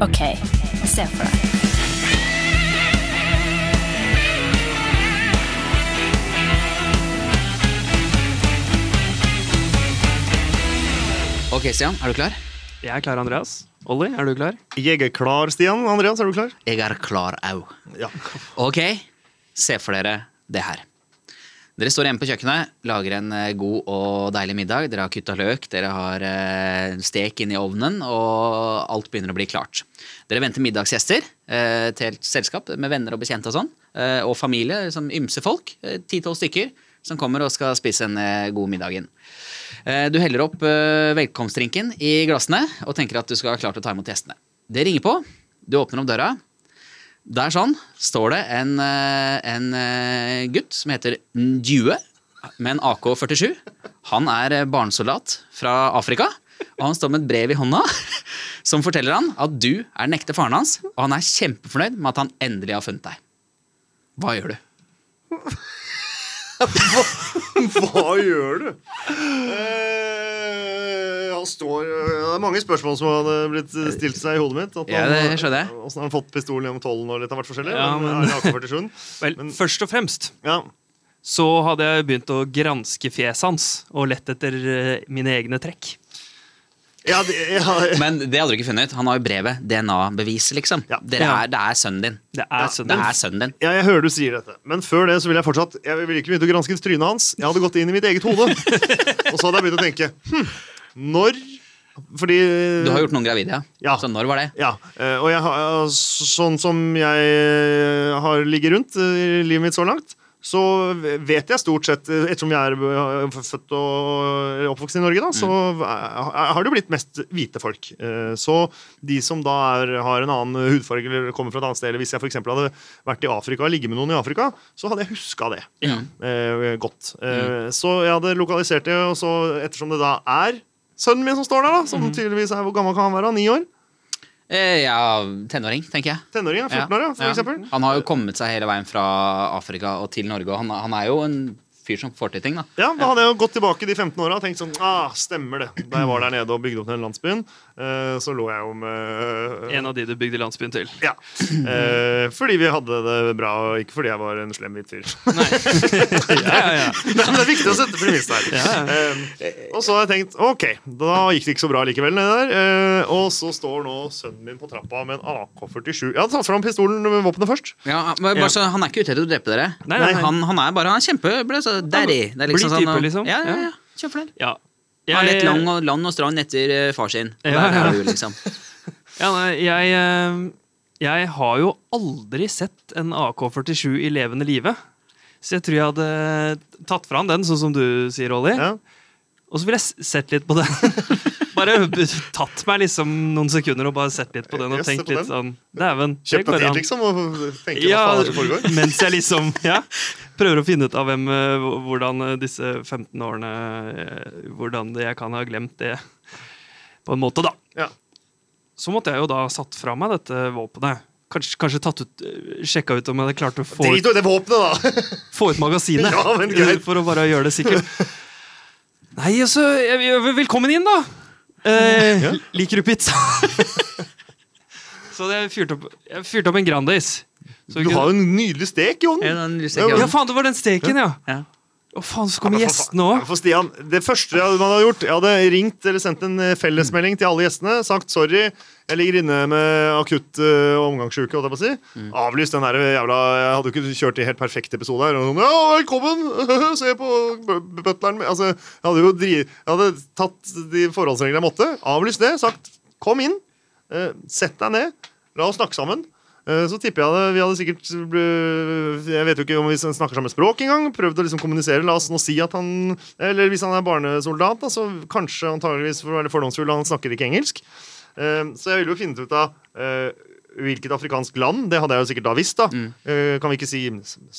OK, se for deg. Ok, Stian, er du klar? Jeg er klar, Andreas. Olli, er du klar? Jeg er klar, Stian. Andreas, er du klar? Jeg er klar au. Ja. Ok, se for dere det her. Dere står hjemme på kjøkkenet, lager en eh, god og deilig middag. Dere har kutta løk, dere har eh, stek inn i ovnen, og alt begynner å bli klart. Dere venter middagsgjester eh, til et selskap med venner og bekjente og sånn. eh, Og familie, som ymse folk. eh, Ti-tolv stykker som kommer og skal spise den eh, gode middagen. Eh, Du heller opp eh, velkomstdrinken i glassene og tenker at du skal ha klart å ta imot gjestene. Det ringer på. Du åpner opp døra. Der sånn står det en, eh, en eh, gutt som heter Ndjue med en AK-47. Han er eh, barnesoldat fra Afrika, og han står med et brev i hånda som forteller han at du er den ekte faren hans, og han er kjempefornøyd med at han endelig har funnet deg. Hva gjør du? Hva gjør du? Eh, han står Det er mange spørsmål som hadde blitt stilt seg i hodet mitt. At Ja, han- det skjønner jeg. Hvordan har han fått pistolen gjennom tollen og litt av hvert forskjellig? Ja, men... eh, men- er det AK-47? Vel, Men- først og fremst Ja. så hadde jeg begynt å granske fjeset hans og lett etter eh, mine egne trekk. Ja, det, ja, Men det hadde du ikke funnet ut. Han har jo brevet. DNA-beviset, liksom. Ja. Dere Ja. er, det er sønnen din. Det Ja, er Det sønnen er sønnen din. ja, jeg hører du sier dette. Men før det så ville jeg fortsatt Jeg ville ikke begynt å granske trynet hans. Jeg hadde gått inn i mitt eget hode. Og så hadde jeg begynt å tenke hm, Når Fordi Du har gjort noen gravide, ja. Ja. Så når var det? Ja, eh, og jeg har, sånn som jeg eh, har ligget rundt eh, i livet mitt så langt, så vet jeg stort sett eh, Ettersom jeg er eh, født og eller oppvokst i Norge, da, så eh, har det jo blitt mest hvite folk. Eh, Så de som da er, har en annen hudfarge eller kommer fra et annet sted, eller hvis jeg f.eks. hadde vært i Afrika og ligget med noen i Afrika, så hadde jeg huska det Mm. eh, godt. Eh, Så jeg hadde lokalisert det, og så ettersom det da er sønnen min som står der, da, som tydeligvis er Hvor gammel kan han være? Ni år? Eh, ja, tenåring, tenker jeg. Tenåring, ja. 14 år, ja, for Ja. eksempel. Han har jo kommet seg hele veien fra Afrika og til Norge, og han, han er jo en fyr som får til ting, da. Ja, Da hadde jeg jo gått tilbake de 15 åra og tenkt sånn ah, Stemmer det. Da jeg var der nede og bygde opp den landsbyen, eh, så lå jeg jo med En av de du bygde landsbyen til. ja. Eh, fordi vi hadde det bra, og ikke fordi jeg var en slem hvit fyr. Ja, ja, Nei, men Det er viktig å sette premiss der. Eh, og så har jeg tenkt ok, da gikk det ikke så bra likevel nede der. eh, og så står nå sønnen min på trappa med en AK-47. Jeg hadde tatt fram pistolen med våpenet først. Ja, men Ja. bare, så, han er ikke ute etter å drepe dere. Nei, nei, nei. Han, han er bare han er kjempe ble så daddy. Det er liksom Blid sånn, type, og- liksom. Ja, ja, Ja. ja. Kjempefornøyd. ja. Han er Jeg- litt lang og, land og strand etter eh, far sin. Og Ja, der ja. er du, liksom. Ja, nei, jeg, eh, jeg har jo aldri sett en AK-47 i levende live. Så jeg tror jeg hadde tatt fram den, sånn som du sier, Olli. Ja. Og så ville jeg s- sett litt på den. bare b- tatt meg liksom noen sekunder og bare sett litt på den og Yes, se tenkt på litt den. sånn Dæven. det Kjøpt går meg an." tid, liksom, og tenker hva Ja, faen er det som foregår. mens jeg liksom ja, prøver å finne ut av hvem, eh, hvor- hvordan eh, disse 15 årene eh, Hvordan jeg kan ha glemt det, på en måte, da Ja. så måtte jeg jo da satt fra meg dette våpenet. Kanskje, kanskje tatt ut, sjekka ut om jeg hadde klart å få, Drit i det våpenet, da! få ut magasinet. Ja, men greit. For å bare gjøre det sikkert. Nei, altså jeg- jeg- Velkommen inn, da! Eh, Ja. Liker du pizza? så jeg fyrte opp, jeg fyrte opp en Grandis. Så vi Du kunne- har jo en nydelig stek i Ja, ovnen. den lyser Ja, ikke ja, an. faen, det var den steken, ja! Ja. Å, faen, så kommer Ja, men for gjestene faen- òg. ja, For Stian, Det første jeg man hadde gjort, jeg hadde ringt eller sendt en eh, fellesmelding til alle gjestene. Sagt sorry, jeg ligger inne med akutt eh, omgangssjuke. holdt jeg på å Si. Avlyst den der jævla Jeg hadde jo ikke kjørt i helt perfekt episode her. Og sånn, ja, velkommen! Se på b- b- butleren min. Altså, jeg hadde jo dri, jeg hadde tatt de forholdsreglene jeg måtte. Avlyst det. Sagt kom inn, eh, sett deg ned, la oss snakke sammen. Eh, Så tipper jeg det. Vi hadde sikkert eh, Jeg vet jo ikke om vi snakker samme språk engang. Prøvd å liksom kommunisere. La oss nå si at han Eller hvis han er barnesoldat, da, så kanskje antageligvis for å være litt fordomsfull, han snakker ikke engelsk. Eh, Så jeg ville jo finne ut av eh, hvilket afrikansk land. Det hadde jeg jo sikkert da visst, da. Mm. Eh, Kan vi ikke si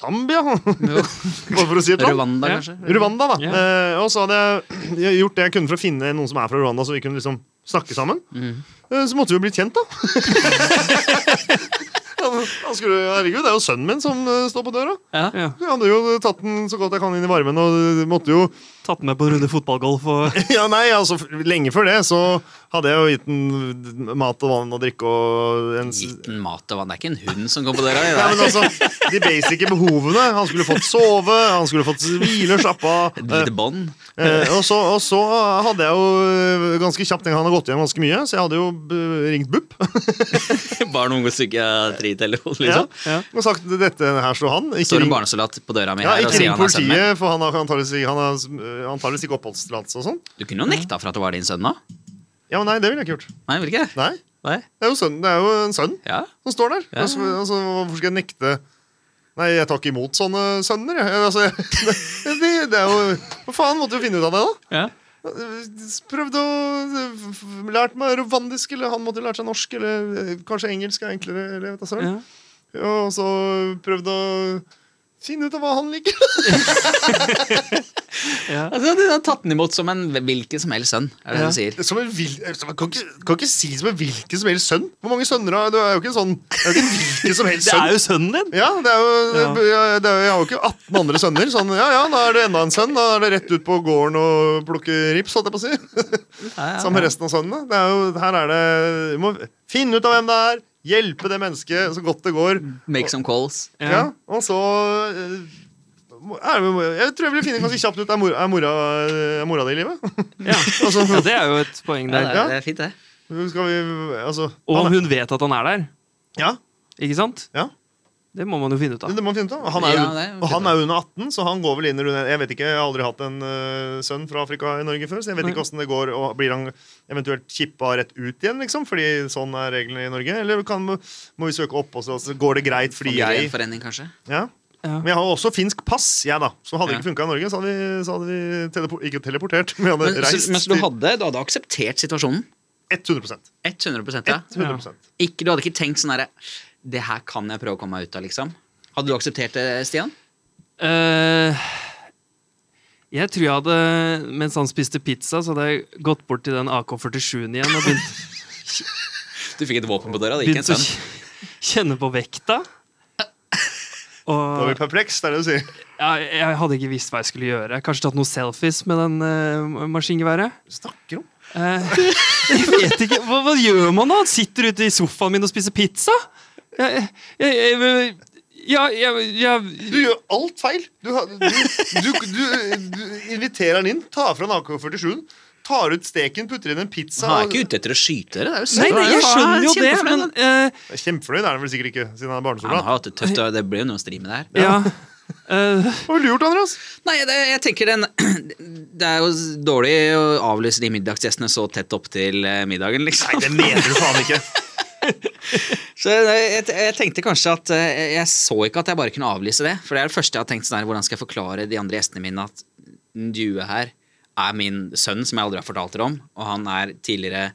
Zambia? Bare for å si et land. Rwanda, Ja. kanskje? Rwanda, da. Ja. Eh, og så hadde jeg- jeg gjort det jeg kunne for å finne noen som er fra Rwanda, så vi kunne liksom snakke sammen. Mm. Eh, så måtte vi jo blitt kjent, da. Han- han skulle, herregud, det er jo sønnen min som eh, står på døra. Ja. Jeg hadde jo tatt den så godt jeg kan inn i varmen, og eh, måtte jo Tatt med på en runde fotballgolf og Ja, nei, altså, f- lenge før det så hadde jeg jo gitt den mat og vann og drikke og en s- Gitt den mat og vann. Det er ikke en hund som kom på døra di. Nei, det men er altså, De basice behovene. Han skulle fått sove, han skulle fått hvile, slappe av. Et eh, lite bånd. Eh, og, så, og så hadde jeg jo eh, ganske kjapt Han hadde gått hjem ganske mye, så jeg hadde jo eh, ringt BUP. Barn, unge, psykiatritelefon, Ja. liksom. Ja. Og sagt dette her står han. Ikke Står en ring, barnesoldat på døra mi ja, her og ikke sier ring han er sønnen min. politiet, for han har antakeligvis han har, eh, antageligvis ikke oppholdstillatelse og sånn. Du kunne jo nekta for at det var din sønn nå. Ja, men nei, det ville jeg ikke gjort. Nei, vil ikke det? Nei, Nei. Det er jo, sønnen, det er jo en sønn Ja. som står der. Ja. Altså, altså, hvorfor skal jeg nekte Nei, jeg tar ikke imot sånne sønner, jeg. Altså, jeg det, det er jo Hva faen, måtte jo finne ut av det, da. Ja. Prøvde å Lært meg rovandisk, eller han måtte lært seg norsk, eller eh, kanskje engelsk er enklere. Eller, jeg vet da søren. Ja. Og så prøvde å finne ut av hva han liker. Ja. Altså, du har tatt den imot som en hvilken som helst sønn, er det Ja. du sier. Som en vil, som, kan, ikke, kan ikke si som en hvilken som helst sønn. Hvor mange sønner har du? er jo ikke en sånn det er jo ikke en hvilken som helst Det sønn. er jo sønnen din! Ja, det er jo, Ja. jeg- Det er, jo- jeg har jo ikke 18 andre sønner. Sånn, ja, ja, Da er det enda en sønn. Da er det rett ut på gården og plukke rips. Holdt jeg på å si. Sammen med resten av sønnene. Det er jo, her er det, du må finne ut av hvem det er, hjelpe det mennesket så godt det går. Mm. Make some calls. Ja, og så eh, må- er, det- må- Jeg tror jeg ville finne ganske kjapt ut Er mora, er mora, er mora di i livet? Ja. Altså, ja, det er jo et poeng Ja, der. det, er, det er fint, det. Skal vi Altså Og om han, hun vet at han er der, ja, ikke sant? Ja. Det må man jo finne ut av. det må man finne ut av. Han er, Ja, jo- det er jo og han fint, er jo under 18, så han går vel inn under Jeg vet ikke, jeg har aldri hatt en eh, sønn fra Afrika i Norge før, så jeg vet Nei. ikke åssen det går. Og blir han eventuelt chippa rett ut igjen, liksom? Fordi sånn er reglene i Norge? Eller kan, må vi søke oppholdstillatelse? Går det greit fordi jeg Familiegjenforening, kanskje. Ja. Ja. Men jeg har jo også finsk pass, jeg, da. Så hadde det Ja. ikke funka i Norge, så hadde vi, så hadde vi telepo ikke teleportert, men vi hadde Men, så, reist men så du, hadde, du hadde akseptert situasjonen? til 100 100 ja. 100 Ikke, Du hadde ikke tenkt sånn herre Det her kan jeg prøve å komme meg ut av, liksom. Hadde du akseptert det, Stian? Eh, jeg tror jeg hadde, mens han spiste pizza, så hadde jeg gått bort til den AK-47-en igjen og begynt, Du fikk et våpen på døra, det gikk en begynt å sønn. kj- kjenne på vekta. Da er vi Og perpleks, det er det du sier. ja, jeg hadde ikke visst hva jeg skulle gjøre. Kanskje tatt noen selfies med den eh, maskingeværet. Snakker om Eh, jeg vet ikke, hva, hva gjør man da? Sitter ute i sofaen min og spiser pizza? Jeg, jeg, jeg, ja, jeg, jeg Du gjør alt feil! Du, har- du, du, du, du inviterer han inn, tar fra en AK-47, tar ut steken, putter inn en pizza Han er og- ikke ute etter å skyte dere. Det er jo Nei, sønn. nei, jeg Ja, skjønner jo det, kjempefornøyd. men eh, Kjempefornøyd er han vel sikkert ikke, siden han er Ja, Han barnesoldat. har hatt det tøft, og det blir jo noe å stri med det her. ja. Eh, Hva ville du gjort, Andreas? Nei, det, jeg tenker den Det er jo s- dårlig å avlyse de middagsgjestene så tett opp til eh, middagen, liksom. Det mener du faen ikke! Så jeg, jeg, jeg tenkte kanskje at eh, jeg så ikke at jeg bare kunne avlyse det. For det er det første jeg har tenkt sånn her, hvordan skal jeg forklare de andre gjestene mine at den due her er min sønn, som jeg aldri har fortalt dere om, og han er tidligere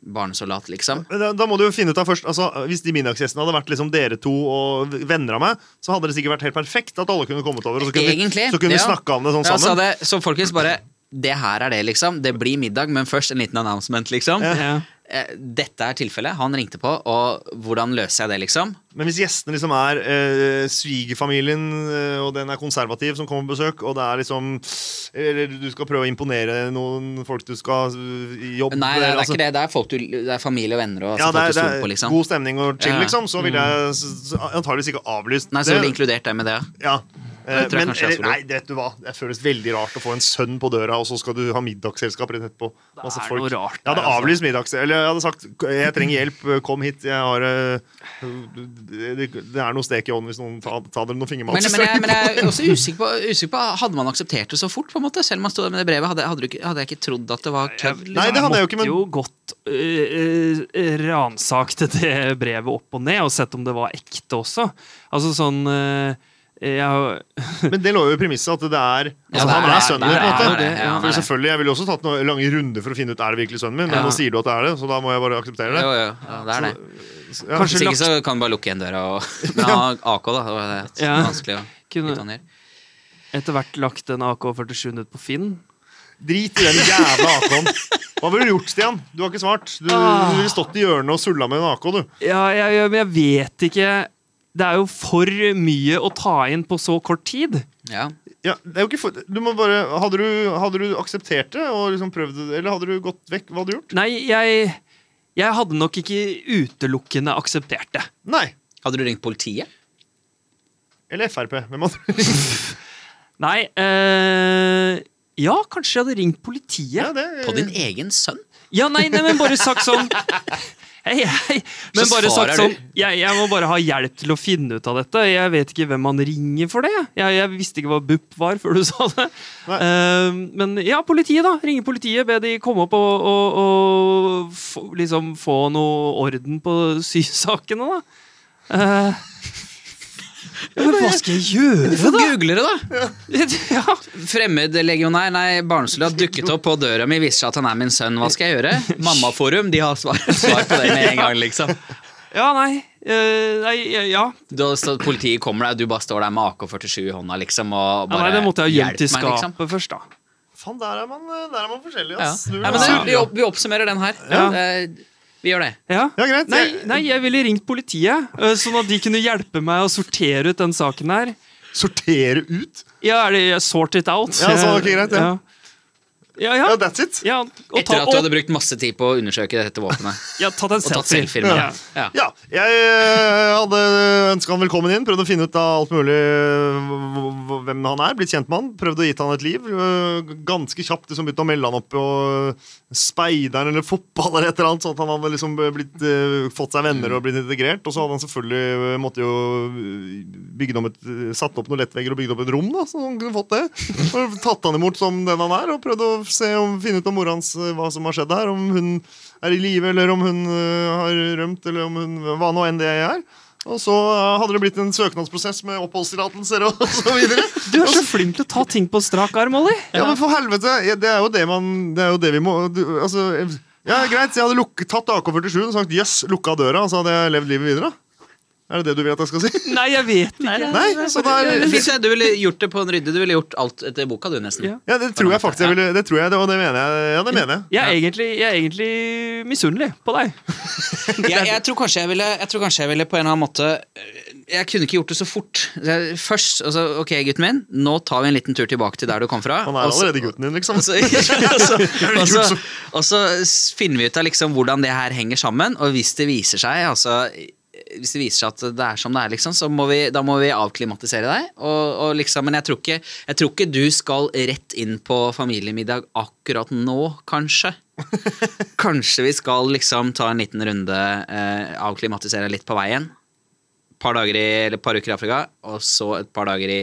barnesoldat, liksom. Men Da, da må du jo finne ut av først altså, Hvis de middagsgjestene hadde vært liksom dere to og venner av meg, så hadde det sikkert vært helt perfekt at alle kunne kommet over. Og så kunne, Egentlig. vi, så kunne vi ja. snakka om det sånn Ja, så sammen. hadde- så folkens, bare Det her er det, liksom. Det blir middag, men først en liten announcement, liksom. ja. Eh, Dette er tilfellet. Han ringte på, og hvordan løser jeg det, liksom? Men hvis gjestene liksom er eh, svigerfamilien, eh, og den er konservativ, som kommer på besøk, og det er liksom Eller du skal prøve å imponere noen folk du skal eh, jobbe Nei, nei, det er altså- ikke det. Det er, folk du, det er familie og venner og altså, Ja, det er, folk du det stoler er på, liksom. god stemning og chill, Ja. Mm. liksom. Så ville jeg s- s- antageligvis ikke avlyst Nei, så ville inkludert deg med det. Ja. Eh, Det tror jeg Men kanskje jeg eller, skulle nei, vet du hva? det føles veldig rart å få en sønn på døra, og så skal du ha middagsselskap rett etterpå. Det Masse er folk. noe rart. Jeg hadde der, altså. avlyst middags... Eller jeg hadde sagt jeg trenger hjelp, kom hit. Jeg har, eh, det, det er noe stek i ånden hvis noen tar, tar dere noe fingermat. Men, men, jeg, men eh, jeg er også usikker på, usikker på Hadde man akseptert det så fort? på en måte Selv om man stod der med det brevet, hadde, hadde, du ikke, hadde jeg ikke trodd at det var kødd? liksom? Nei, det hadde jeg jo ikke, men- måtte jo godt øh, øh, ransakt det brevet opp og ned, og sett om det var ekte også. Altså sånn øh, jeg, har- Men det lå jo i premisset at det er Ja, Altså, det han er- er sønnen din, det på er- en det er måte. det, ja, han For er det. selvfølgelig, Jeg ville også tatt noen lange runder for å finne ut er det virkelig sønnen min, men Ja. nå sier du at det er det, så da må jeg bare akseptere det. Jo, jo, ja, det er det. Så- ja. Kanskje Hvis ikke lagt, så kan du bare lukke igjen døra og Men han har AK, da. Det var det Ja. vanskelig å bytte kunne han her. etter hvert lagt en AK-47 ut på Finn. Drit i den jævla AK-en. Hva ville du gjort, Stian? Du har ikke svart. Du, du Ah. ville stått i hjørnet og sulla med en AK, du. Ja, jeg, jeg, men jeg vet ikke Det er jo for mye å ta inn på så kort tid. Ja. ja, det er jo ikke for, du må bare, hadde, du, hadde du akseptert det, og liksom prøvd det, eller hadde du gått vekk? Hva hadde du gjort? Nei, jeg, jeg hadde nok ikke utelukkende akseptert det. Nei. Hadde du ringt politiet? Eller Frp. Hvem hadde du Nei eh, Ja, kanskje jeg hadde ringt politiet. ja, det, Mm. På din egen sønn? Ja, nei, nei, men bare sagt sånn Hei, hei. Men Så bare svarer sagt du. sånn jeg, jeg må bare ha hjelp til å finne ut av dette. Jeg vet ikke hvem man ringer for det. Jeg, jeg visste ikke hva BUP var før du sa det. Nei. Eh, men ja, politiet, da. Ringe politiet. Be de komme opp og, og, og få, liksom få noe orden på sysakene, da. Eh, ja, men hva skal jeg gjøre, Hvorfor googler du, da? da? Ja. Fremmedlegionær, nei, barnesoldat dukket opp på døra mi, viser seg at han er min sønn. Hva skal jeg gjøre? Mammaforum, de har svar, svar på det med en gang, liksom. Ja, nei. eh, nei ja, ja. Du, har stått- politiet kommer deg, du bare står der med AK-47 i hånda, liksom, og ja. bare Nei, det måtte jeg ha gjemt i «Hjelp meg», liksom. skapet først, da. Faen, der er man, eh, der er man forskjellig, Ja. ass. Du vil Nei, men ha- det, Ja. vi, opp, vi oppsummerer den her. Ja. Eh, vi gjør det. Ja. Ja, greit. Nei, Jeg- nei, jeg ville ringt politiet, øh, sånn at de kunne hjelpe meg å sortere ut den saken her. Sortere ut? Ja, er det sort it out? Ja, så, ok, greit, ja. Ja, Ja, ja. ja. that's it. og Etter ta, at du og, hadde brukt masse tid på å undersøke dette våpenet. ja, tatt Og en tatt selfie. selvfilmer. Ja. Ja. Ja, jeg eh, hadde ønska han velkommen inn. Prøvd å finne ut av alt mulig eh, hv- hv- hvem han er. Blitt kjent med han. Prøvd å gitt han et liv. eh, Ganske kjapt liksom begynte å melde han opp på speideren eller fotball eller et eller annet. Sånn at han hadde liksom blitt, eh, fått seg venner og blitt integrert. Og så hadde han selvfølgelig eh, måtte jo bygge om et, satt opp noen lettvegger og bygd opp et rom, da, så han kunne fått det. Og tatt han imot som den han er, og prøvd å se om, finne ut om mora hans eh, hva som har skjedd her. Om hun er i live, eller om hun øh, har rømt, eller om hun, hva nå enn det er. Og så øh, hadde det blitt en søknadsprosess med oppholdstillatelser og, og så videre. Du er så flink til å ta ting på strak arm, Olli. Ja, men for helvete! ja, Det er jo det man Det er jo det vi må du, Altså, ja, greit, jeg hadde lukk- tatt AK-47 og sagt jøss, lukka døra, og så hadde jeg levd livet videre. Er det det du vil at jeg skal si? Nei, jeg vet ikke. Nei, så da er Det finnes- Du ville gjort det på en rydde. Du ville gjort alt etter boka, du, nesten. Ja. ja, det tror jeg faktisk jeg ville Det tror jeg, det, og det mener jeg. Ja, det mener jeg. Jeg er egentlig, jeg er egentlig misunnelig på deg. Jeg, jeg, tror kanskje jeg, ville, jeg tror kanskje jeg ville på en eller annen måte øh, Jeg kunne ikke gjort det så fort. Jeg- Først altså, Ok, gutten min, nå tar vi en liten tur tilbake til der du kom fra. Han er og så- allerede gutten din, liksom. Og sånn, så, og, så, og, gjort så, så- og så s- finner vi ut av liksom hvordan det her henger sammen, og hvis det viser seg altså, hvis det viser seg at det er som det er, liksom, så må vi, da må vi avklimatisere deg. Og, og liksom, men jeg tror, ikke, jeg tror ikke du skal rett inn på familiemiddag akkurat nå, kanskje. Kanskje vi skal liksom ta en liten runde, eh, avklimatisere litt på veien. Par dager i, eller par uker i Afrika, og så et par dager i,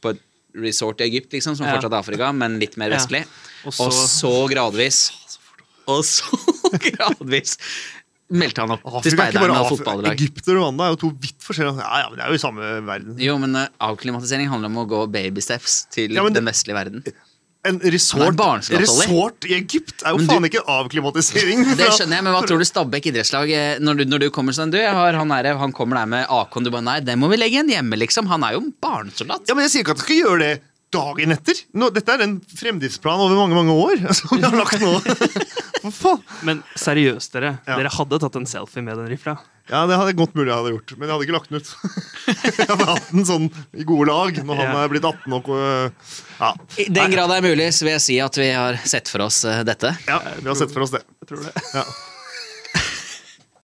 på et resort i Egypt, liksom, som Ja. fortsatt er Afrika, men litt mer Ja. vestlig. Og Og så- så, gradvis Og så gradvis meldte han opp til Afrika er ikke speideren bare og Afrika. fotballag. Egypt og Rwanda er jo to vidt forskjellige Ja, ja, men det er jo i samme verden. Jo, men eh, avklimatisering handler om å gå baby steps til Ja, men det- den vestlige verden. En Han er resort, barnslott, Olli. resort i Egypt er jo Men du- faen ikke avklimatisering. Det skjønner jeg, men hva tror du Stabæk idrettslag eh, Når du, når du kommer sånn, du, jeg har han, her, han kommer der med AK-en, du bare nei, den må vi legge igjen hjemme, liksom. Han er jo en barnesoldat. Ja, men Jeg sier ikke at du skal gjøre det dagen etter. Nå, dette er en fremdriftsplan over mange mange år. Som vi har lagt nå. Hva faen? Men seriøst, dere. Ja. Dere hadde tatt en selfie med den rifla. Ja, Det hadde godt mulig jeg hadde gjort, men jeg hadde ikke lagt den ut. Jeg hadde hatt den sånn i gode lag når han Ja. er blitt 18 og øh, ja. I den grad det er mulig, så vil jeg si at vi har sett for oss eh, dette. ja, vi har sett for oss det. Jeg tror det. Ja.